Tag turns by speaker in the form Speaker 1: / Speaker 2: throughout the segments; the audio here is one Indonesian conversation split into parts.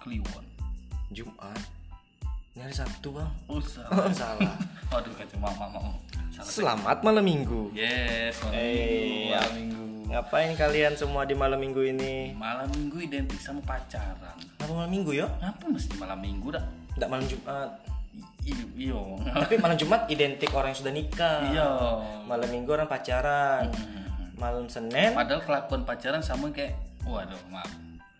Speaker 1: Kliwon
Speaker 2: Jumat ini hari Sabtu bang
Speaker 1: oh salah
Speaker 2: oh, salah
Speaker 1: waduh kacau mama mama salah
Speaker 2: selamat malam minggu
Speaker 1: yes malam minggu
Speaker 2: Eh,
Speaker 1: malam minggu
Speaker 2: ngapain kalian semua di malam minggu ini
Speaker 1: malam minggu identik sama pacaran
Speaker 2: apa malam minggu ya
Speaker 1: kenapa mesti malam minggu dah
Speaker 2: tidak malam Jumat
Speaker 1: I- i- iyo
Speaker 2: tapi malam Jumat identik orang yang sudah nikah
Speaker 1: iyo
Speaker 2: malam minggu orang pacaran
Speaker 1: Hmm.
Speaker 2: malam Senin
Speaker 1: padahal kelakuan pacaran sama kayak waduh maaf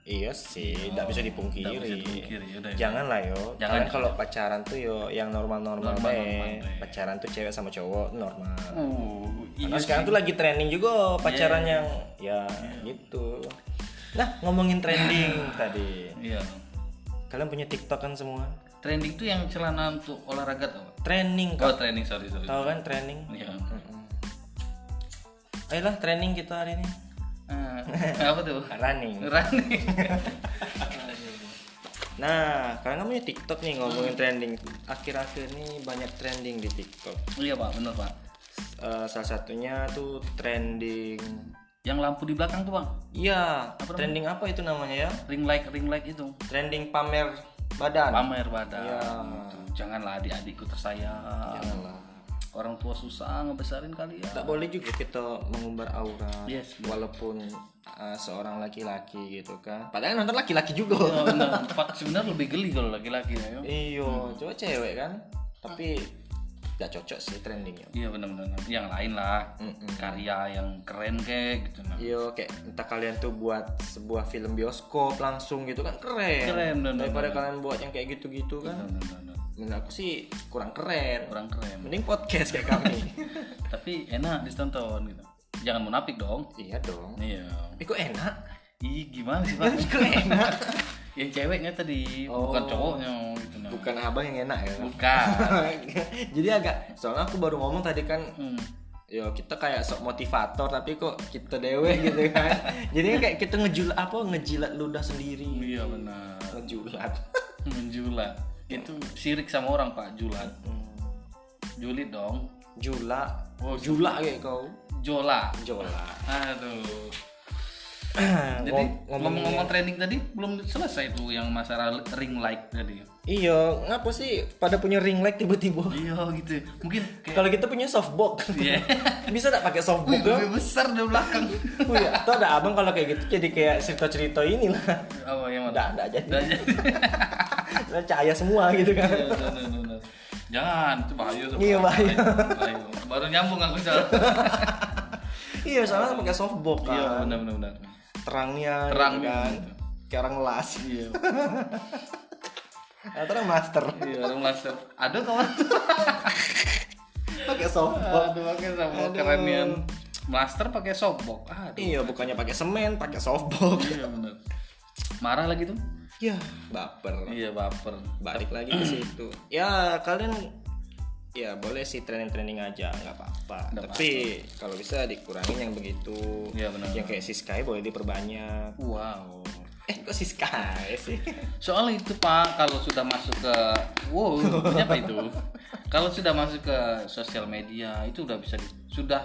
Speaker 2: iya sih tidak bisa
Speaker 1: Oh, nggak bisa
Speaker 2: dipungkiri
Speaker 1: dipungkiri ya udah
Speaker 2: Jangan lah yo.
Speaker 1: Jangan. ya.
Speaker 2: Kalian kalau pacaran tuh yo yang normal-normal
Speaker 1: Normal-normal
Speaker 2: deh.
Speaker 1: deh.
Speaker 2: Pacaran tuh cewek sama cowok normal.
Speaker 1: uh iya
Speaker 2: Karena sekarang tuh lagi trending juga pacaran yang ya gitu. Nah, ngomongin trending tadi.
Speaker 1: iya
Speaker 2: Kalian punya TikTok kan semua?
Speaker 1: trending tuh yang celana untuk olahraga tuh Pak.
Speaker 2: Training kok.
Speaker 1: oh trending sorry sorry
Speaker 2: Tahu kan training?
Speaker 1: iya
Speaker 2: Ayolah training kita hari ini.
Speaker 1: Ah, apa tuh
Speaker 2: Running.
Speaker 1: running
Speaker 2: Nah, kalian kan punya TikTok nih ngomongin trending. Akhir-akhir ini banyak trending di TikTok.
Speaker 1: iya pak bener pak
Speaker 2: Eh, salah satunya tuh trending
Speaker 1: yang lampu di belakang tuh bang
Speaker 2: Iya, trending apa itu namanya ya?
Speaker 1: ring light ring light itu
Speaker 2: Trending pamer badan.
Speaker 1: pamer badan
Speaker 2: Iya.
Speaker 1: Gitu. janganlah adik-adikku tersayang
Speaker 2: Janganlah.
Speaker 1: orang tua susah ngebesarin kalian
Speaker 2: Tak boleh juga kita mengumbar aurat
Speaker 1: Yes.
Speaker 2: walaupun uh, seorang laki-laki gitu kan. Padahal yang nonton laki-laki juga.
Speaker 1: Oh, bener. Pak, sebenarnya lebih geli kalau laki-laki ya yo.
Speaker 2: Iyo, coba cewek kan. Tapi gak cocok sih trendingnya.
Speaker 1: iya benar-benar yang lain lah
Speaker 2: Mm-mm. Iya.
Speaker 1: karya yang keren kayak gitu nah
Speaker 2: Iyo, kayak entah kalian tuh buat sebuah film bioskop langsung gitu kan keren.
Speaker 1: Keren, bener-bener.
Speaker 2: Daripada kalian buat yang kayak gitu-gitu kan.
Speaker 1: Bener-bener.
Speaker 2: Menurut aku sih kurang keren.
Speaker 1: orang keren
Speaker 2: Mending podcast kayak kami.
Speaker 1: tapi enak ditonton gitu jangan munafik dong
Speaker 2: iya dong.
Speaker 1: iya
Speaker 2: Eh kok enak?
Speaker 1: ih gimana sih pak
Speaker 2: Kok enak?
Speaker 1: ya ceweknya tadi
Speaker 2: Oh.
Speaker 1: bukan cowoknya gitu nah
Speaker 2: Bukan abang yang enak ya.
Speaker 1: bukan
Speaker 2: Jadi agak soalnya aku baru ngomong tadi kan
Speaker 1: Hmm.
Speaker 2: yo kita kayak sok motivator tapi kok kita dewe gitu kan. Jadi kayak kita ngejulat apa ngejilat ludah sendiri.
Speaker 1: iya benar
Speaker 2: Ngejulat.
Speaker 1: menjulat itu sirik sama orang pak julat julid dong
Speaker 2: Hmm. Jula. Oh, jula kayak kau.
Speaker 1: jola
Speaker 2: Jola.
Speaker 1: aduh jadi
Speaker 2: Jadi
Speaker 1: ngomong-ngomong trending tadi belum selesai tuh yang masalah ring light tadi
Speaker 2: Iya, ngapa sih pada punya ring light tiba-tiba?
Speaker 1: iya gitu ya. mungkin kayak
Speaker 2: Kalau kita punya softbox.
Speaker 1: Iya.
Speaker 2: Bisa tak pakai softbox? dong?
Speaker 1: lebih besar di belakang
Speaker 2: Wih, atau ada abang kalau kayak gitu jadi kayak cerita-cerita inilah.
Speaker 1: apa yang
Speaker 2: Nggak, nggak jadi.
Speaker 1: Nggak jadi.
Speaker 2: Lah cahaya semua gitu kan.
Speaker 1: Iya, benar, benar, benar. jangan itu bahaya tuh
Speaker 2: Iya, bahaya.
Speaker 1: bahaya. baru nyambung aku salah
Speaker 2: iya, soalnya pakai softbox kan.
Speaker 1: iya benar benar benar
Speaker 2: Terangnya gitu
Speaker 1: Terang.
Speaker 2: kan. Kayak orang las.
Speaker 1: iya
Speaker 2: Nah, terang master
Speaker 1: iya orang laser aduh kawan
Speaker 2: pakai softbox.
Speaker 1: Aduh, pakai softbox kerennya. Blaster pakai softbox. Aduh.
Speaker 2: Iya, bukannya pakai semen, pakai softbox.
Speaker 1: Iya benar. Marah lagi tuh?
Speaker 2: Ya, baper.
Speaker 1: Iya baper.
Speaker 2: Balik lagi ke situ. Ya, kalian ya boleh sih training-training aja nggak apa-apa
Speaker 1: Nggak
Speaker 2: tapi kalau bisa dikurangin yang begitu
Speaker 1: Iya, benar.
Speaker 2: yang kayak si Sky boleh diperbanyak
Speaker 1: Wow.
Speaker 2: eh kok si Sky sih
Speaker 1: Iya, Soal itu Pak, kalau sudah masuk ke wow, punya apa itu? kalau sudah masuk ke sosial media itu udah bisa di- sudah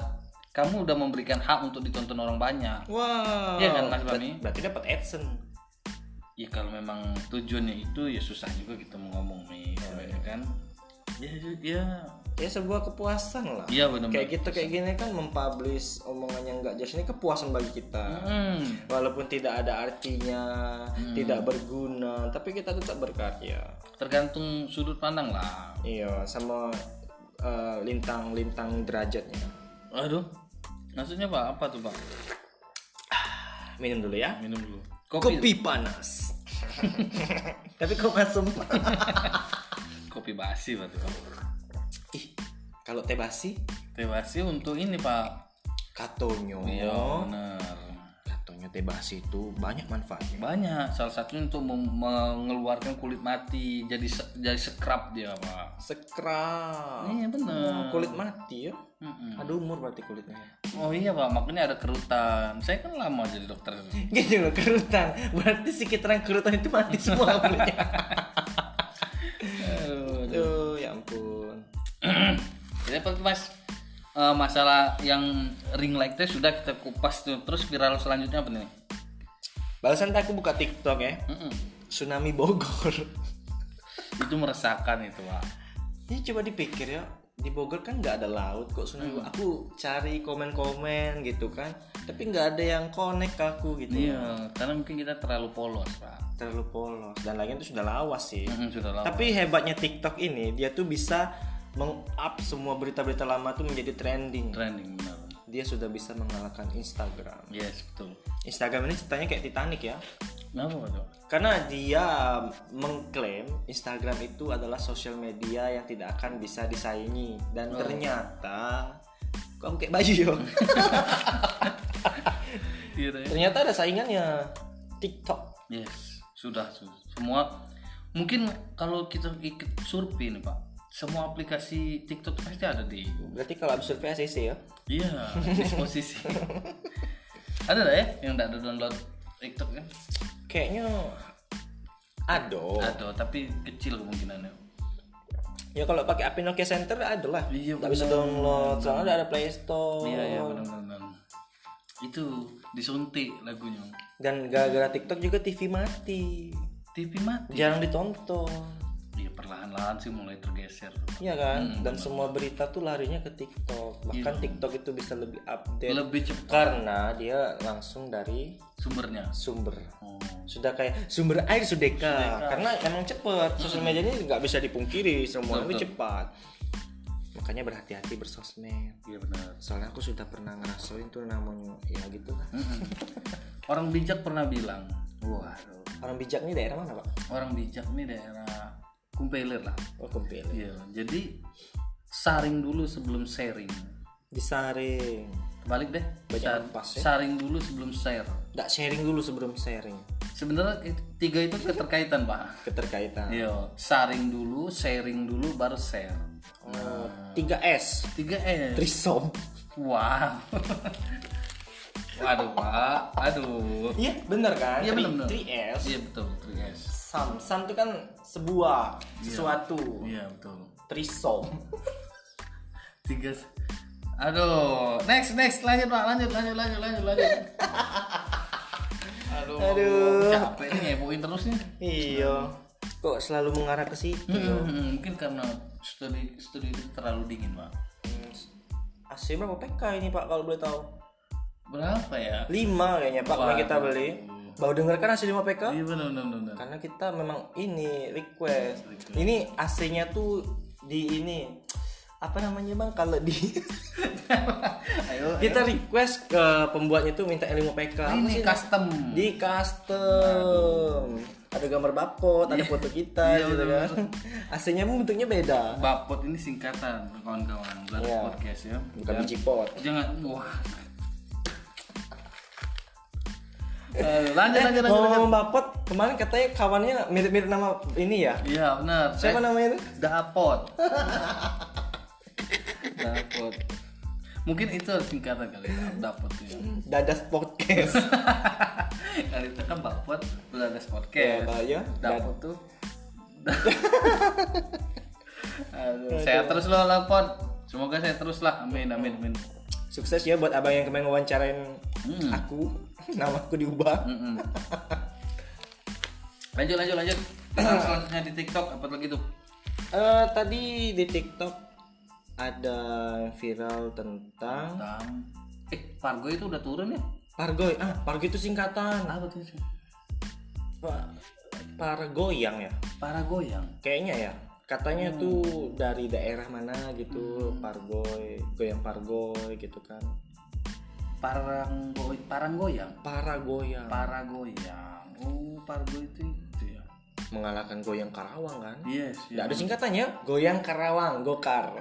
Speaker 1: kamu udah memberikan hak untuk ditonton orang banyak.
Speaker 2: Wow.
Speaker 1: Iya kan, Mas
Speaker 2: Ber-
Speaker 1: Bami?
Speaker 2: Berarti dapat AdSense.
Speaker 1: Ya kalau memang tujuannya itu ya susah juga kita mau ngomong nih,
Speaker 2: Iya,
Speaker 1: ya kan? Ya ya.
Speaker 2: Ya sebuah kepuasan lah.
Speaker 1: Iya benar.
Speaker 2: Kayak gitu kayak gini kan mempublish omongan yang enggak jelas ini kepuasan bagi kita.
Speaker 1: Hmm.
Speaker 2: Walaupun tidak ada artinya, tidak berguna, tapi kita tetap berkarya.
Speaker 1: tergantung sudut pandang lah
Speaker 2: Iya, sama eh, lintang-lintang derajatnya.
Speaker 1: aduh maksudnya pak apa tuh pak
Speaker 2: Minum dulu ya.
Speaker 1: minum dulu
Speaker 2: Kopi,
Speaker 1: kopi
Speaker 2: panas. tapi kok asem?
Speaker 1: kopi basi pak tuh pak
Speaker 2: Ih, kalau teh basi,
Speaker 1: teh basi untuk ini pak
Speaker 2: katonyo.
Speaker 1: iya benar
Speaker 2: Katonyo teh basi itu banyak manfaatnya.
Speaker 1: banyak salah satunya untuk mem- mengeluarkan kulit mati jadi se- jadi scrub dia pak
Speaker 2: Sekrap.
Speaker 1: iya benar
Speaker 2: kulit mati ya
Speaker 1: Mm-mm.
Speaker 2: ada umur berarti kulitnya
Speaker 1: oh iya pak makanya ada kerutan saya kan lama jadi dokter Iya.
Speaker 2: gitu loh kerutan berarti sekitaran kerutan itu mati semua kulitnya
Speaker 1: Aduh.
Speaker 2: aduh ya ampun
Speaker 1: Jadi apa tuh, mas Eh, masalah yang ring light itu sudah kita kupas tuh terus viral selanjutnya apa nih
Speaker 2: balasan aku buka tiktok ya
Speaker 1: Mm-mm.
Speaker 2: tsunami Bogor.
Speaker 1: itu meresahkan itu pak
Speaker 2: Ini coba dipikir ya, di Bogor kan nggak ada laut kok tsunami. Aku cari komen-komen gitu kan, tapi nggak ada yang connect ke aku gitu.
Speaker 1: iya karena mungkin kita terlalu polos pak
Speaker 2: Terlalu polos dan lagian itu sudah lawas sih.
Speaker 1: Mm-mm, sudah lama
Speaker 2: Tapi hebatnya TikTok ini dia tuh bisa meng-up semua berita-berita lama tuh menjadi trending.
Speaker 1: trending benar
Speaker 2: Dia sudah bisa mengalahkan Instagram.
Speaker 1: yes betul
Speaker 2: Instagram ini ceritanya kayak Titanic ya.
Speaker 1: kenapa pak Cok?
Speaker 2: Karena dia mengklaim Instagram itu adalah sosial media yang tidak akan bisa disaingi dan ternyata kamu kayak baju ya? yo.
Speaker 1: Iya, Pak, ya.
Speaker 2: ternyata ada saingannya TikTok.
Speaker 1: Yes, sudah su- semua. Mungkin kalau kita ikut survei nih Pak, semua aplikasi TikTok pasti ada di.
Speaker 2: Berarti kalau abis survei ACC ya.
Speaker 1: Iya, disposisi. ada lah ya yang tidak ada download TikTok kan?
Speaker 2: Kayaknya ada.
Speaker 1: Ada, tapi kecil kemungkinannya.
Speaker 2: Ya kalau pakai API Nokia Center adalah
Speaker 1: Iya,
Speaker 2: nggak bisa download. Soalnya udah ada Play Store.
Speaker 1: Iya, iya benar-benar. Itu disuntik lagunya.
Speaker 2: Dan gara-gara TikTok juga TV mati.
Speaker 1: TV mati.
Speaker 2: Jarang ditonton.
Speaker 1: Iya, perlahan-lahan sih mulai tergeser.
Speaker 2: Iya kan? Dan semua berita tuh larinya ke TikTok. Bahkan TikTok itu bisa lebih update
Speaker 1: Lebih cepat
Speaker 2: karena dia langsung dari
Speaker 1: sumbernya.
Speaker 2: sumber.
Speaker 1: Oh,
Speaker 2: Sudah kayak sumber air Sudeka. Karena emang cepet. Sosial media ini nggak bisa dipungkiri, semua ini cepat. Makanya berhati-hati bersosmed.
Speaker 1: iya benar.
Speaker 2: Soalnya aku sudah pernah ngerasain tuh namanya ya gitu lah.
Speaker 1: Orang bijak pernah bilang, waduh
Speaker 2: Orang bijak nih daerah mana, Pak?
Speaker 1: orang bijak nih daerah kumpelir lah
Speaker 2: Oh, Kempele.
Speaker 1: iya jadi saring dulu sebelum sharing
Speaker 2: Disaring.
Speaker 1: balik deh
Speaker 2: Banyak
Speaker 1: Sa-
Speaker 2: ampas ya.
Speaker 1: saring dulu sebelum share
Speaker 2: Nggak sharing dulu sebelum sharing.
Speaker 1: sebenarnya it- tiga itu
Speaker 2: Iya.
Speaker 1: keterkaitan pak
Speaker 2: Keterkaitan.
Speaker 1: iya saring dulu sharing dulu baru share
Speaker 2: Oh, 3S.
Speaker 1: tiga eh
Speaker 2: Trisom.
Speaker 1: wow waduh pak aduh
Speaker 2: Iya bener kan?
Speaker 1: iya
Speaker 2: Tri-
Speaker 1: benar benar
Speaker 2: 3S
Speaker 1: iya betul 3S
Speaker 2: Sam Sam itu kan sebuah sesuatu
Speaker 1: iya betul
Speaker 2: Trisom
Speaker 1: tiga aduh next next lanjut pak lanjut lanjut lanjut lanjut lanjut aduh,
Speaker 2: Aduh.
Speaker 1: capek nih ngeboin terus nih
Speaker 2: Iya Kok selalu mengarah ke situ
Speaker 1: Hmm, hmm, mungkin karena studi studi itu terlalu dingin pak
Speaker 2: Hmm, AC berapa PK ini pak kalau boleh tahu?
Speaker 1: berapa ya
Speaker 2: 5 kayaknya pak pernah kita beli Baru denger kan AC 5 PK?
Speaker 1: iya benar benar benar, benar
Speaker 2: Karena kita memang ini request Ini AC-nya tuh di ini Apa namanya bang kalau di
Speaker 1: ayo eh,
Speaker 2: Kita request ke pembuatnya tuh minta 5 PK Apa
Speaker 1: ini
Speaker 2: sih
Speaker 1: custom
Speaker 2: di custom ada gambar bapot
Speaker 1: Iya.
Speaker 2: ada foto kita gitu kan aslinya emang bentuknya beda
Speaker 1: bapot ini singkatan kawan-kawan dari
Speaker 2: Iya.
Speaker 1: podcast ya
Speaker 2: bukan biji pot
Speaker 1: jangan wah Aduh, Eh, lanjut lanjut lanjut
Speaker 2: ngomong bapot Eh, kemarin katanya kawannya mirip-mirip nama ini ya
Speaker 1: iya benar
Speaker 2: siapa namanya itu
Speaker 1: Dapot. Dapot. Mungkin itu harus singkatan kali ya, Dapot ya.
Speaker 2: dadas podcast
Speaker 1: kali itu kan Bapot, Beladas
Speaker 2: ya
Speaker 1: Podcast.
Speaker 2: Pak, ya
Speaker 1: Dapot tuh. Aduh, saya terus loh lapor. Semoga saya terus lah. Amin amin amin. Hmm.
Speaker 2: sukses ya buat abang yang kemarin wawancarain aku nama aku diubah
Speaker 1: Mm-mm. Lanjut lanjut lanjut. Kita selanjutnya di TikTok apa lagi tuh?
Speaker 2: Eh, tadi di tiktok ada yang viral tentang
Speaker 1: Tam. Eh, Fargo itu udah turun ya?
Speaker 2: pargoy ah pargoy itu singkatan
Speaker 1: Apa tuh?
Speaker 2: Pa- pargoyang ya
Speaker 1: Para goyang.
Speaker 2: kayaknya ya katanya tuh dari daerah mana gitu pargoy goyang pargoy gitu kan
Speaker 1: Parang goy, parang goyang.
Speaker 2: para goyang
Speaker 1: para goyang oh pargo itu itu ya
Speaker 2: mengalahkan goyang karawang kan
Speaker 1: yes
Speaker 2: nggak ada singkatannya goyang karawang gokar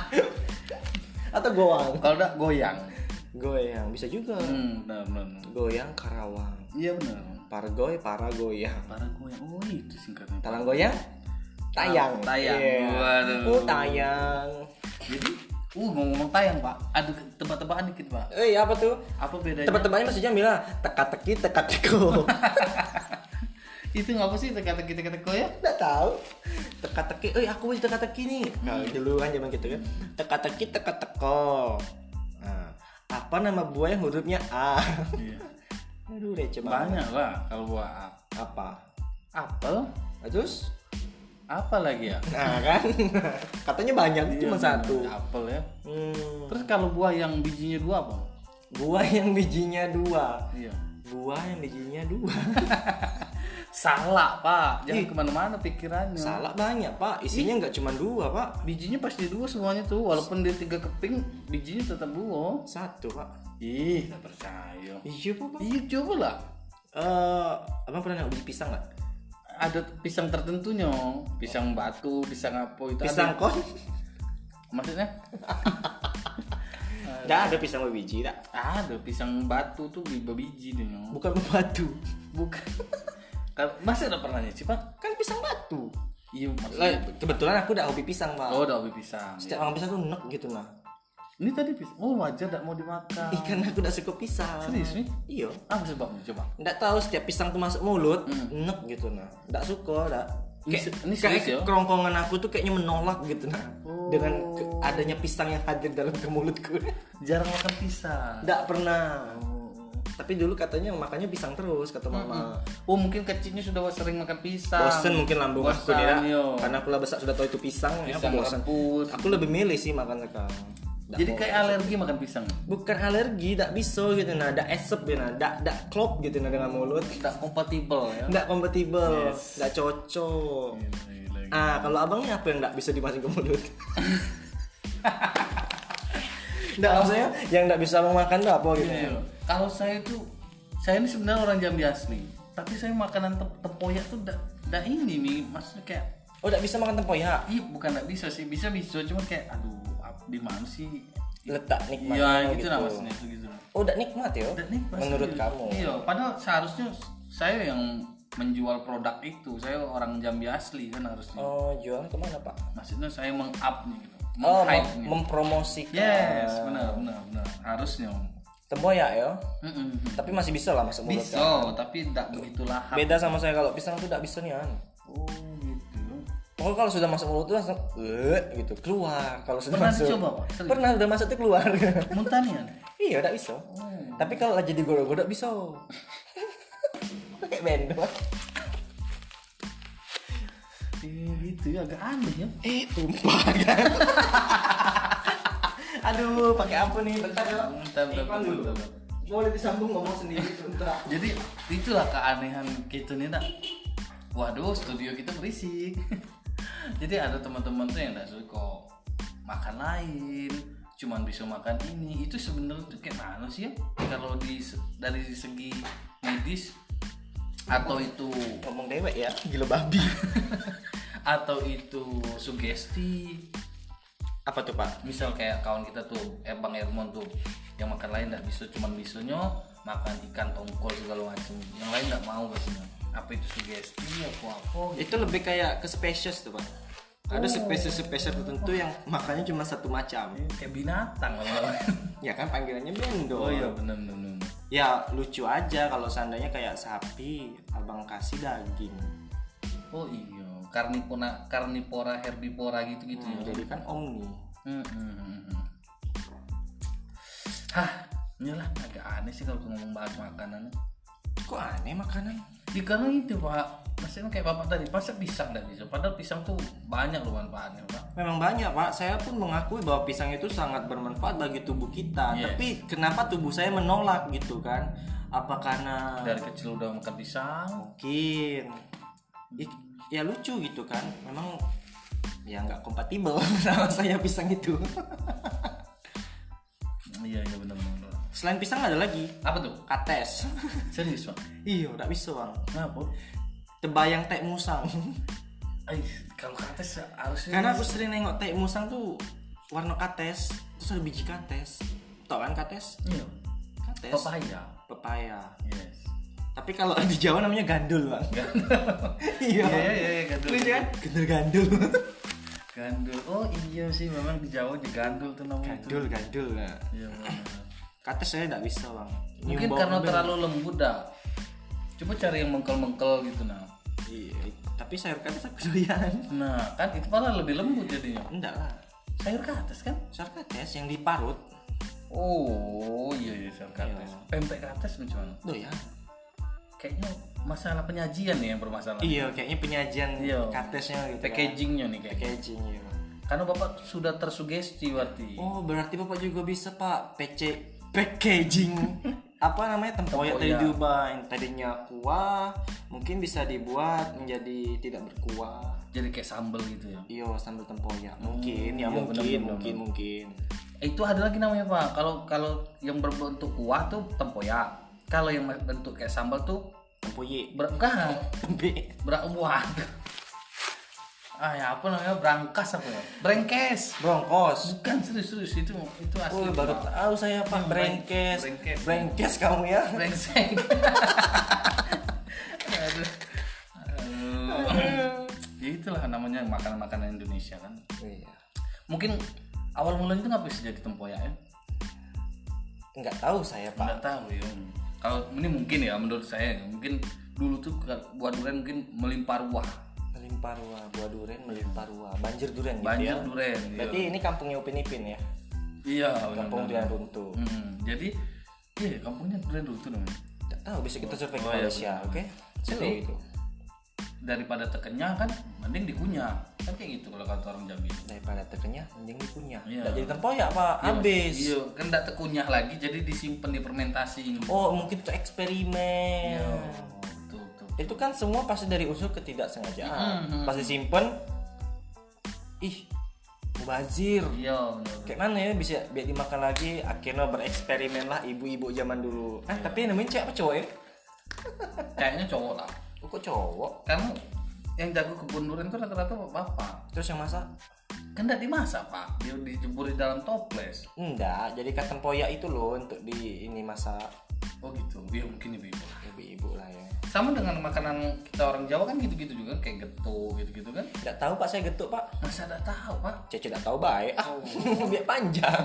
Speaker 2: atau goang
Speaker 1: kalau enggak goyang
Speaker 2: goyang bisa juga
Speaker 1: hmm benar benar benar.
Speaker 2: goyang karawang
Speaker 1: iya benar
Speaker 2: pargoy para goyang
Speaker 1: para goyang oh itu singkatnya
Speaker 2: talang goyang tayang
Speaker 1: Ah, tayang.
Speaker 2: Iya.
Speaker 1: Waduh.
Speaker 2: oh tayang
Speaker 1: jadi uh ngomong tayang pak ada ke- tebak-tebakan dikit pak
Speaker 2: eh apa tuh
Speaker 1: apa bedanya
Speaker 2: teman-temannya maksudnya mila teka-teki teka-teko
Speaker 1: itu ngapa sih teka-teki teka-teki ya
Speaker 2: Nggak tahu. Teka-teki, eh aku masih teka-teki nih. Nah, dulu kan zaman gitu kan. Teka-teki teka-teko. Nah, apa nama buah yang hurufnya A?
Speaker 1: iya.
Speaker 2: Aduh receh banget.
Speaker 1: banyak lah kalau buah
Speaker 2: apa
Speaker 1: Apple?
Speaker 2: Nah, terus
Speaker 1: Apa lagi ya?
Speaker 2: nah kan katanya banyak cuma satu
Speaker 1: Apple ya.
Speaker 2: hmm,
Speaker 1: Terus kalau buah yang bijinya dua apa?
Speaker 2: buah yang bijinya dua
Speaker 1: Iya.
Speaker 2: buah yang bijinya dua
Speaker 1: Salah, Pak. Jangan
Speaker 2: Ih.
Speaker 1: kemana-mana pikirannya.
Speaker 2: salah banyak pak isinya nggak cuma dua pak
Speaker 1: Bijinya pasti dua semuanya tuh, walaupun dia tiga keping, bijinya tetap dua.
Speaker 2: satu pak
Speaker 1: Ih, tak percaya.
Speaker 2: iya pak
Speaker 1: Iya, coba lah.
Speaker 2: Eh, abang pernah nengok biji pisang nggak
Speaker 1: Ada pisang tertentunya, pisang batu, pisang apa itu
Speaker 2: pisang
Speaker 1: ada.
Speaker 2: kon
Speaker 1: Maksudnya?
Speaker 2: nggak ada pisang berbiji tak
Speaker 1: Ada pisang batu tuh di biji dia. nyong.
Speaker 2: bukan batu
Speaker 1: Bukan. Kalau- Masa udah pernah nyicip, Pak?
Speaker 2: kan pisang batu
Speaker 1: Iya,
Speaker 2: Lah,
Speaker 1: maksudnya.
Speaker 2: kebetulan aku udah hobi pisang pak
Speaker 1: Oh, udah hobi pisang.
Speaker 2: setiap makan pisang tuh nek gitu nah
Speaker 1: Ini tadi pisang. Oh, wajar tidak mau dimakan.
Speaker 2: ikan aku udah suka pisang
Speaker 1: Serius nih?
Speaker 2: iya
Speaker 1: Apa sebabnya coba?
Speaker 2: nggak tahu setiap pisang tuh masuk mulut nek gitu nah nggak suka nggak
Speaker 1: Hmm. Ini
Speaker 2: kayak,
Speaker 1: se- ini
Speaker 2: kayak
Speaker 1: serius ya?
Speaker 2: kerongkongan aku tuh kayaknya menolak gitu nah
Speaker 1: Oh.
Speaker 2: dengan ke- adanya pisang yang hadir dalam ke mulutku
Speaker 1: Jarang makan pisang.
Speaker 2: nggak pernah tapi dulu katanya makannya pisang terus kata mama
Speaker 1: Oh mungkin kecilnya sudah sering makan pisang. iya.
Speaker 2: bosen mungkin lambung aku nih Ra.
Speaker 1: Bosan, yo.
Speaker 2: karena aku lah besar sudah tahu itu pisang, ya aku
Speaker 1: Pisang
Speaker 2: bosen
Speaker 1: rebus.
Speaker 2: aku lebih milih sih makan sekarang Nggak
Speaker 1: Jadi
Speaker 2: mau.
Speaker 1: kayak alergi makan pisang.
Speaker 2: bukan alergi tidak bisa gitu nah tidak esep gitu nah tidak tidak klop gitu nah dengan mulut
Speaker 1: Tidak kompatibel ya.
Speaker 2: tidak kompatibel tidak cocok ah kalau abangnya apa yang tidak bisa dimasukin ke mulut tidak maksudnya yang tidak bisa abang makan tuh apa gitu ya
Speaker 1: Iya. Kalau saya itu saya ini sebenarnya orang Jambi asli, tapi saya makanan te- tempoyak tuh tidak ini mi, maksudnya kayak
Speaker 2: oh tidak bisa makan tempoyak
Speaker 1: iya bukan tidak bisa sih, bisa bisa cuma kayak aduh ap- di mana sih?
Speaker 2: letak nikmat
Speaker 1: Iya gitu, lah maksudnya itu gitu. lah.
Speaker 2: oh tidak nikmat ya
Speaker 1: Dan ini pasti-
Speaker 2: menurut kamu
Speaker 1: Iya, padahal seharusnya s- saya yang menjual produk itu, saya orang Jambi asli kan harusnya.
Speaker 2: oh jualan kemana pak
Speaker 1: Maksudnya saya meng-up nih gitu.
Speaker 2: oh
Speaker 1: Meng-hype
Speaker 2: mem-
Speaker 1: nih.
Speaker 2: mempromosikan
Speaker 1: Yes, benar benar benar. Harusnya.
Speaker 2: tempoyak ya
Speaker 1: Mm-mm.
Speaker 2: tapi masih bisa lah masuk mulut
Speaker 1: Bisa, tapi tidak begitulah.
Speaker 2: beda sama saya kalau pisang tuh tidak bisa nih An.
Speaker 1: Oh, gitu.
Speaker 2: pokoknya kalau sudah masuk mulut tuh langsung eh gitu keluar kalau sudah
Speaker 1: Pernah
Speaker 2: masuk
Speaker 1: dicoba, Pak? Serius?
Speaker 2: pernah sudah masuk tuh keluar
Speaker 1: Muntah nih, An?
Speaker 2: iya tidak bisa tapi kalau lagi digodok-godok bisa kayak bendo
Speaker 1: Iya, gitu ya agak aneh ya.
Speaker 2: eh tumpah kan aduh pakai apa nih bentar ya
Speaker 1: Hmm, Bentar, bentar,
Speaker 2: Iklan dulu.
Speaker 1: bentar, bentar.
Speaker 2: boleh disambung ngomong sendiri bentar
Speaker 1: Jadi itulah keanehan kita nih nak. Waduh studio kita berisik. Jadi ada teman-teman tuh yang gak suka makan lain, cuman bisa makan ini. Itu sebenarnya tuh kayak mana sih ya? Kalau di dari segi medis atau itu
Speaker 2: ngomong dewek ya gila babi
Speaker 1: atau itu sugesti
Speaker 2: apa tuh pak
Speaker 1: misal kayak kawan kita tuh eh bang Edmond tuh yang makan lain nggak bisa cuman misonya makan ikan tongkol segala macam yang lain nggak mau biasanya apa itu sugesti Ya, apa apa
Speaker 2: itu lebih kayak ke spesies tuh pak ada spesies spesies tertentu yang makannya cuma satu macam
Speaker 1: kayak binatang lah
Speaker 2: ya kan panggilannya
Speaker 1: Oh,
Speaker 2: bendo
Speaker 1: bener bener
Speaker 2: ya lucu aja kalau seandainya kayak sapi abang kasih daging
Speaker 1: oh iya karnivora karnivora herbivora gitu gitu ya
Speaker 2: jadi kan omni
Speaker 1: Hmm, hmm, hmm, hmm. hah iyalah agak aneh sih kalau ngomong bahas makanan
Speaker 2: kok aneh makanan
Speaker 1: Ya karena itu pak Maksudnya kayak bapak tadi Masa pisang tidak bisa Padahal pisang tuh banyak loh manfaatnya pak
Speaker 2: memang banyak pak saya pun mengakui bahwa pisang itu sangat bermanfaat bagi tubuh kita
Speaker 1: Yes.
Speaker 2: tapi kenapa tubuh saya menolak gitu kan apa karena
Speaker 1: Dari kecil udah makan pisang
Speaker 2: mungkin I- ya lucu gitu kan memang ya nggak kompatibel sama saya pisang itu
Speaker 1: Iya iya benar benar
Speaker 2: selain pisang ada lagi
Speaker 1: Apa tuh?
Speaker 2: kates
Speaker 1: Serius pak?
Speaker 2: iya nggak bisa bang
Speaker 1: Kenapa?
Speaker 2: tebayang tek musang
Speaker 1: Eh, kalau kates harusnya
Speaker 2: karena aku sering nengok tek musang tuh warna kates terus ada biji kates tau kan kates
Speaker 1: Iya
Speaker 2: kates
Speaker 1: Papaya
Speaker 2: pepaya
Speaker 1: Yes
Speaker 2: tapi kalau di Jawa namanya gandul bang iya
Speaker 1: Iya iya iya gandul
Speaker 2: Lucu kan gandul gandul
Speaker 1: Gandul Oh iya sih memang di Jawa di gandul tuh namanya itu
Speaker 2: gandul gandul nah.
Speaker 1: Iya benar-benar.
Speaker 2: kates saya nggak bisa bang
Speaker 1: Mungkin
Speaker 2: Nyumbau-
Speaker 1: karena terlalu lembut dah Coba cari yang mengkel-mengkel gitu nah
Speaker 2: iya tapi sayur kates aku doyan
Speaker 1: Nah kan itu malah lebih lembut jadinya
Speaker 2: enggak lah
Speaker 1: Sayur kates kan?
Speaker 2: sayur kates yang diparut
Speaker 1: Oh iya iya sayur kates
Speaker 2: Iya.
Speaker 1: ya. Pempek kates macam mana?
Speaker 2: doyan
Speaker 1: kayaknya masalah penyajian nih yang bermasalah
Speaker 2: Iya, kayaknya penyajian
Speaker 1: Iya.
Speaker 2: katesnya gitu. kan.
Speaker 1: packagingnya nih kayak
Speaker 2: Packaging iya.
Speaker 1: karena bapak sudah tersugesti warti
Speaker 2: Oh, berarti Bapak juga bisa, Pak. PC packaging. Apa namanya? Tempoyak tadi
Speaker 1: Tempoyak.
Speaker 2: diubah. Yang tadinya kuah, mungkin bisa dibuat menjadi tidak berkuah.
Speaker 1: jadi kayak sambel gitu ya
Speaker 2: Iya, sambal tempoyak. Mungkin,
Speaker 1: iya,
Speaker 2: ya mungkin,
Speaker 1: benar-benar.
Speaker 2: mungkin, mungkin.
Speaker 1: Eh, itu ada lagi namanya pak kalau kalau yang berbentuk kuah tuh tempoyak kalau yang bentuk kayak sambal tuh
Speaker 2: Tempoyak.
Speaker 1: ber enggak
Speaker 2: Tempe.
Speaker 1: ber- waduh. ah ya apa namanya berangkas apa ya brengkes
Speaker 2: Brongkos.
Speaker 1: bukan serius serius itu itu asli
Speaker 2: Oh, baru
Speaker 1: Pak.
Speaker 2: tahu saya, Pak. Brengkes.
Speaker 1: brengkes.
Speaker 2: Brengkes kamu ya.
Speaker 1: brengsek aduh Aduh. ya itulah namanya makanan-makanan Indonesia kan
Speaker 2: Iya.
Speaker 1: mungkin awal mulanya itu nggak bisa jadi tempoyak ya
Speaker 2: Nggak tahu saya, Pak.
Speaker 1: nggak tahu ya kalau ini mungkin ya menurut saya ya. mungkin dulu tuh ke- buah durian mungkin melimpah ruah
Speaker 2: Gitu Melimpah ruah, buah duren melimpah ruah, banjir duren gitu
Speaker 1: banjir
Speaker 2: ya.
Speaker 1: durian iya.
Speaker 2: Berarti ini kampungnya Upin Ipin ya,
Speaker 1: iya benar.
Speaker 2: kampung duren runtuh.
Speaker 1: Hmm, jadi iya kampungnya durian dulu tuh namanya
Speaker 2: Nggak tahu bisa kita survei ke
Speaker 1: Oh, iya,
Speaker 2: Malaysia,
Speaker 1: benar.
Speaker 2: oke? Seru
Speaker 1: Jadi-
Speaker 2: itu.
Speaker 1: daripada terkenyang kan mending dikunyah kan kayak gitu kalau kata orang Jambi
Speaker 2: Daripada terkenyah, mending dikunyah.
Speaker 1: Iya.
Speaker 2: Nggak jadi tempoyak pak, habis.
Speaker 1: iya kan nggak terkunyah lagi jadi disimpan di fermentasi
Speaker 2: Oh mungkin itu eksperimen.
Speaker 1: Iya. Betul, betul.
Speaker 2: Itu kan semua pasti dari unsur ketidaksengajaan.
Speaker 1: Mhm.
Speaker 2: Pasti simpen. Ih, mubazir.
Speaker 1: iya benar, benar.
Speaker 2: Kayak mana ya bisa biar dimakan lagi akhirnya bereksperimen lah ibu-ibu zaman dulu. Ah tapi namanya cewek apa cowok ya?
Speaker 1: kayaknya cowok lah
Speaker 2: Oh, kok cowok?
Speaker 1: karena yang jago kebun durian tuh rata-rata bapak
Speaker 2: Terus yang masak?
Speaker 1: kan nggak dimasak pak dia dijemur di dalam toples
Speaker 2: Enggak, jadi katen poyak itu loh untuk di ini masak
Speaker 1: oh gitu ya mungkin ibu
Speaker 2: ibu-ibu lah ya.
Speaker 1: sama dengan makanan kita orang Jawa kan gitu-gitu juga kayak getuk gitu-gitu kan
Speaker 2: Enggak tahu Pak, saya getuk Pak.
Speaker 1: masa nggak tahu pak
Speaker 2: Cece enggak tahu baik. Ah, biar panjang.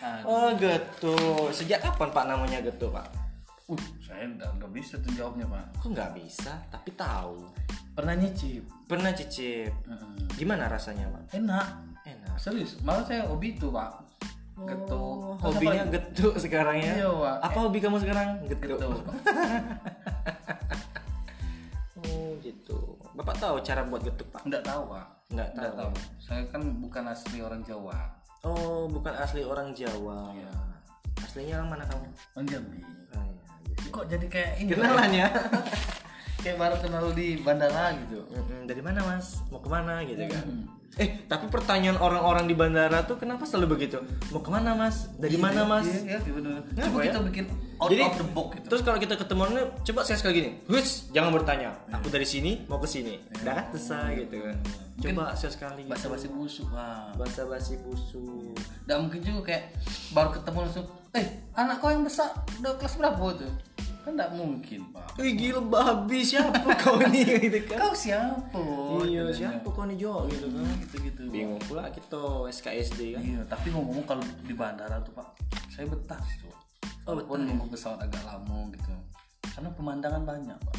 Speaker 1: Aduh.
Speaker 2: Oh, getuk. Sejak kapan Pak namanya getuk Pak?
Speaker 1: uh saya nggak nggak bisa tuh jawabnya pak
Speaker 2: Aku nggak bisa, tapi tahu.
Speaker 1: pernah nyicip
Speaker 2: Pernah cicip.
Speaker 1: Mm-mm.
Speaker 2: Gimana rasanya Pak?
Speaker 1: enak
Speaker 2: Enak.
Speaker 1: serius malah saya hobi itu pak getuk
Speaker 2: Oh,
Speaker 1: Terus apa
Speaker 2: hobinya
Speaker 1: lagi?
Speaker 2: getuk sekarang ya?
Speaker 1: Iya, Pak.
Speaker 2: Apa hobi kamu sekarang? Getuk.
Speaker 1: getuk
Speaker 2: Oh, gitu. Bapak tahu cara buat getuk Pak?
Speaker 1: nggak tahu pak
Speaker 2: Nggak
Speaker 1: nggak
Speaker 2: tahu.
Speaker 1: tahu saya kan bukan asli orang Jawa
Speaker 2: Oh, bukan asli orang Jawa.
Speaker 1: Iya.
Speaker 2: Aslinya orang mana kamu?
Speaker 1: orang Jambi
Speaker 2: Ah, iya.
Speaker 1: kok jadi kayak ini
Speaker 2: Kenalan ya.
Speaker 1: kayak baru kenal di bandara gitu
Speaker 2: Mm-mm, dari mana mas? Mau kemana gitu kan? Eh, tapi pertanyaan orang-orang di bandara tuh kenapa selalu begitu? Mau kemana mas? Dari mana mas?
Speaker 1: Iya, iya, bener.
Speaker 2: Kenapa
Speaker 1: Coba
Speaker 2: ya?
Speaker 1: kita bikin out
Speaker 2: Jadi-
Speaker 1: of the box gitu.
Speaker 2: Terus kalau kita ketemu orangnya, coba saya sekali gini, Hush, jangan bertanya. Aku dari sini mau ke sini. Dah selesai gitu kan.
Speaker 1: Mungkin
Speaker 2: Coba saya sekali.
Speaker 1: bahasa basi busuk lah.
Speaker 2: basi busuk.
Speaker 1: Nggak mungkin juga kayak baru ketemu langsung, eh anak kau yang besar udah kelas berapa itu? Kan nggak mungkin pak.
Speaker 2: Wih gila babi siapa kau ini gitu kan?
Speaker 1: Kau siapa?
Speaker 2: Iya siapa kau nih Jo gitu kan?
Speaker 1: Gitu gitu.
Speaker 2: Bingung pula kita SKSD kan.
Speaker 1: Iya, tapi ngomong kalau di bandara tuh pak, saya betah sih tuh.
Speaker 2: Oh,
Speaker 1: Walaupun nunggu pesawat agak lama gitu. Karena pemandangan banyak pak.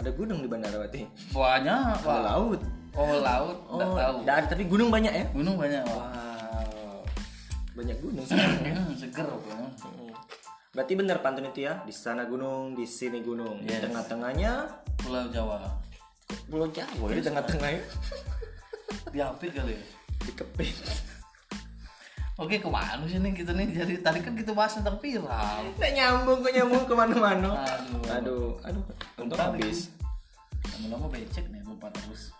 Speaker 2: Ada gunung di bandara berarti.
Speaker 1: Banyak
Speaker 2: Ada
Speaker 1: pak.
Speaker 2: laut.
Speaker 1: Oh laut, nggak tahu.
Speaker 2: nggak ada, tapi gunung banyak ya?
Speaker 1: Gunung banyak pak.
Speaker 2: Wow. Banyak gunung sekarang.
Speaker 1: Hmm, seger pak.
Speaker 2: berarti benar pantun itu ya, di sana gunung, di sini gunung. Di
Speaker 1: Yes.
Speaker 2: tengah-tengahnya
Speaker 1: Pulau Jawa.
Speaker 2: pulau Jawa ya, di tengah-tengahnya
Speaker 1: Diapit kali ya.
Speaker 2: dikepit.
Speaker 1: Oke kemana sih nih kita nih jadi tadi kan kita bahas tentang viral.
Speaker 2: Nggak nyambung kok nyambung kemana-mana.
Speaker 1: Aduh.
Speaker 2: Aduh, aduh, untung habis.
Speaker 1: Lama-lama becek nih lupa terus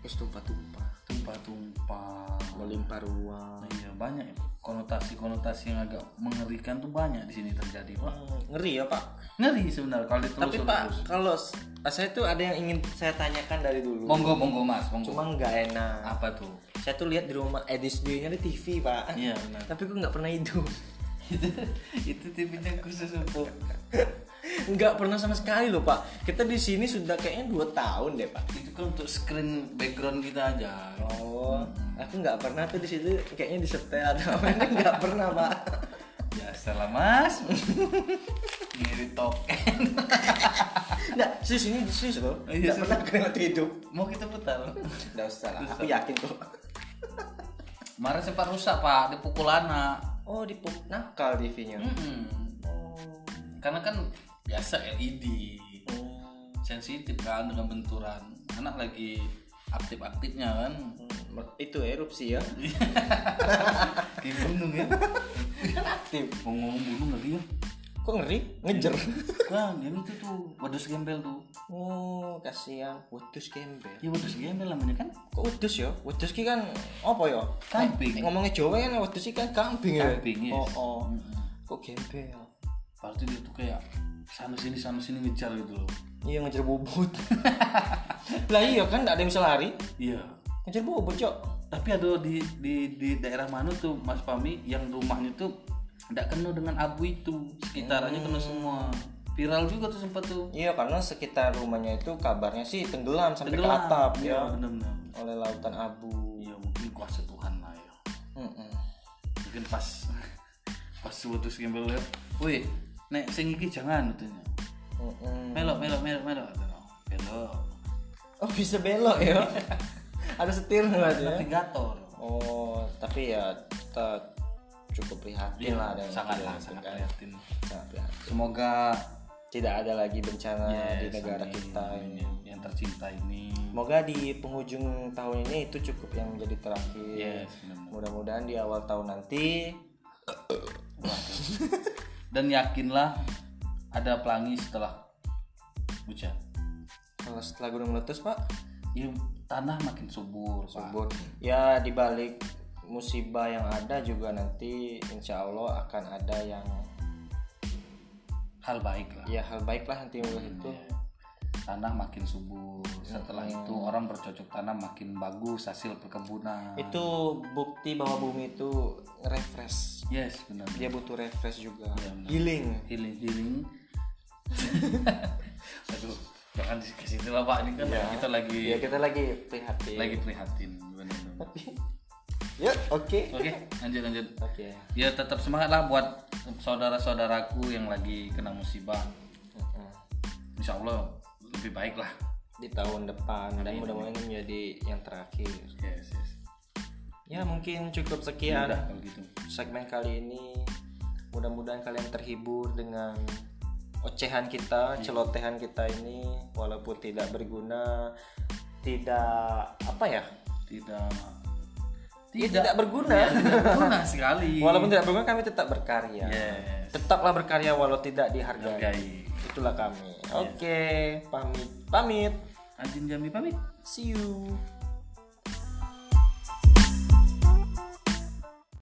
Speaker 2: Terus tumpah-tumpah,
Speaker 1: tumpah-tumpah.
Speaker 2: melimpah ruang.
Speaker 1: Nah, iya banyak ya. konotasi-konotasi yang agak mengerikan tuh banyak di sini terjadi pak.
Speaker 2: Hmm, Ngeri ya pak.
Speaker 1: Ngeri sebenarnya kalau diterus
Speaker 2: Tapi pak, kalau s- saya tuh ada yang ingin saya tanyakan dari dulu.
Speaker 1: Monggo monggo mas, monggo.
Speaker 2: Cuma nggak enak.
Speaker 1: Apa tuh?
Speaker 2: saya tuh lihat di rumah edisnya di TV pak
Speaker 1: Iya benar.
Speaker 2: tapi gue nggak pernah hidup
Speaker 1: itu itu tipenya khusus untuk
Speaker 2: nggak pernah sama sekali loh pak kita di sini sudah kayaknya dua tahun deh pak
Speaker 1: itu kan untuk screen background kita aja.
Speaker 2: oh aku nggak pernah tuh di situ kayaknya di setel atau apa ini nggak pernah pak
Speaker 1: Biasa lah Ya, mas. Ngiri token.
Speaker 2: nggak serius ini serius loh
Speaker 1: Iya,
Speaker 2: nggak pernah aku waktu hidup
Speaker 1: Mau kita putar?
Speaker 2: nggak usah lah aku yakin kok
Speaker 1: Kemarin sempat rusak pak, dipukul anak.
Speaker 2: oh dipuk nakal TV-nya
Speaker 1: Mm-mm. Karena kan biasa LED Hmm. sensitif kan dengan benturan anak lagi aktif-aktifnya kan
Speaker 2: Hmm, Itu erupsi ya.
Speaker 1: di gunung ya
Speaker 2: Aktif.
Speaker 1: mau ngomong gunung lagi ya
Speaker 2: Kok ngeri? Ngejer.
Speaker 1: kan yang itu tuh wadus gembel tuh
Speaker 2: Oh, kasihan. Wedus gembel.
Speaker 1: ya wadus gembel namanya kan
Speaker 2: Kok wedus ya? Wedus ki kan apa ya?
Speaker 1: Kambing.
Speaker 2: Nek- Ngomongnya Jawa kan wedus ki kan kambing ya.
Speaker 1: Kambing, yes.
Speaker 2: Oh, oh.
Speaker 1: Mm-mm.
Speaker 2: Kok gembel?
Speaker 1: pasti dia tuh kayak sana sini sana sini ngejar gitu loh
Speaker 2: Iya ngejar bobot. lah iya kan enggak ada yang bisa lari.
Speaker 1: iya
Speaker 2: Ngejar bobot, Cok.
Speaker 1: tapi ada di di di daerah mana tuh Mas Pami yang rumahnya tuh tidak kena dengan abu itu sekitarannya kena
Speaker 2: Hmm.
Speaker 1: semua viral juga tuh sempat tuh
Speaker 2: Iya, karena sekitar rumahnya itu kabarnya sih tenggelam sampai
Speaker 1: Tenggelam.
Speaker 2: ke atap
Speaker 1: iya
Speaker 2: ya
Speaker 1: benar-benar
Speaker 2: oleh lautan abu.
Speaker 1: iya mungkin kuasa Tuhan lah ya
Speaker 2: Mm-mm.
Speaker 1: mungkin pas pas suatu gembel lihat woi nek sing iki jangan katanya
Speaker 2: Mm-mm.
Speaker 1: melok melok melok melok katanya melok
Speaker 2: Oh, bisa belok ya. ada setir aja.
Speaker 1: navigator
Speaker 2: Oh, tapi ya kita cukup prihatin lah
Speaker 1: Iya,
Speaker 2: dengan
Speaker 1: sangat lah
Speaker 2: kejadian itu
Speaker 1: sangat
Speaker 2: kan.
Speaker 1: prihatin
Speaker 2: Sangat prihatin.
Speaker 1: semoga
Speaker 2: Tidak ada lagi bencana
Speaker 1: ya,
Speaker 2: di negara
Speaker 1: amin,
Speaker 2: kita
Speaker 1: amin,
Speaker 2: ini.
Speaker 1: yang, yang tercinta ini
Speaker 2: Semoga di penghujung tahun ini itu cukup yang menjadi terakhir.
Speaker 1: Yes, benar-benar.
Speaker 2: Mudah-mudahan di awal tahun nanti
Speaker 1: dan yakinlah ada pelangi setelah hujan
Speaker 2: kalau setelah gunung meletus pak,
Speaker 1: ya tanah makin subur Pak.
Speaker 2: subur. Ya di balik musibah yang ada juga nanti insya Allah akan ada yang
Speaker 1: hal baik lah
Speaker 2: ya hal baik lah nanti itu.
Speaker 1: tanah makin subur setelah itu orang bercocok tanam makin bagus hasil perkebunan
Speaker 2: Itu bukti bahwa bumi itu refresh.
Speaker 1: yes benar
Speaker 2: Dia butuh refresh juga.
Speaker 1: Iya, benar.
Speaker 2: Healing.
Speaker 1: healing healing aduh jangan dikasih itu lah pak ini kan kita lagi
Speaker 2: Ya kita lagi prihatin.
Speaker 1: lagi prihatin benar-benar. oke
Speaker 2: Ya oke.
Speaker 1: lanjut lanjut
Speaker 2: Oke.
Speaker 1: ya tetap semangat lah buat saudara-saudaraku yang lagi kena musibah
Speaker 2: Mm-mm.
Speaker 1: insya Allah lebih baik lah
Speaker 2: Di tahun depan dan mudah-mudahan ini menjadi yang terakhir.
Speaker 1: yes yes
Speaker 2: Ya mungkin
Speaker 1: ya
Speaker 2: cukup sekian
Speaker 1: udah kalau gitu
Speaker 2: segmen kali ini. Mudah-mudahan kalian terhibur dengan ocehan kita, celotehan kita ini walaupun tidak berguna, tidak apa ya?
Speaker 1: tidak
Speaker 2: Ya, tidak Iya. berguna.
Speaker 1: Ya, tidak berguna sekali
Speaker 2: Walaupun tidak berguna kami tetap berkarya.
Speaker 1: yes
Speaker 2: Tetaplah berkarya walau tidak dihargai.
Speaker 1: guys
Speaker 2: Itulah kami. Oke, pamit. Pamit.
Speaker 1: Ajin Jami pamit
Speaker 2: See you.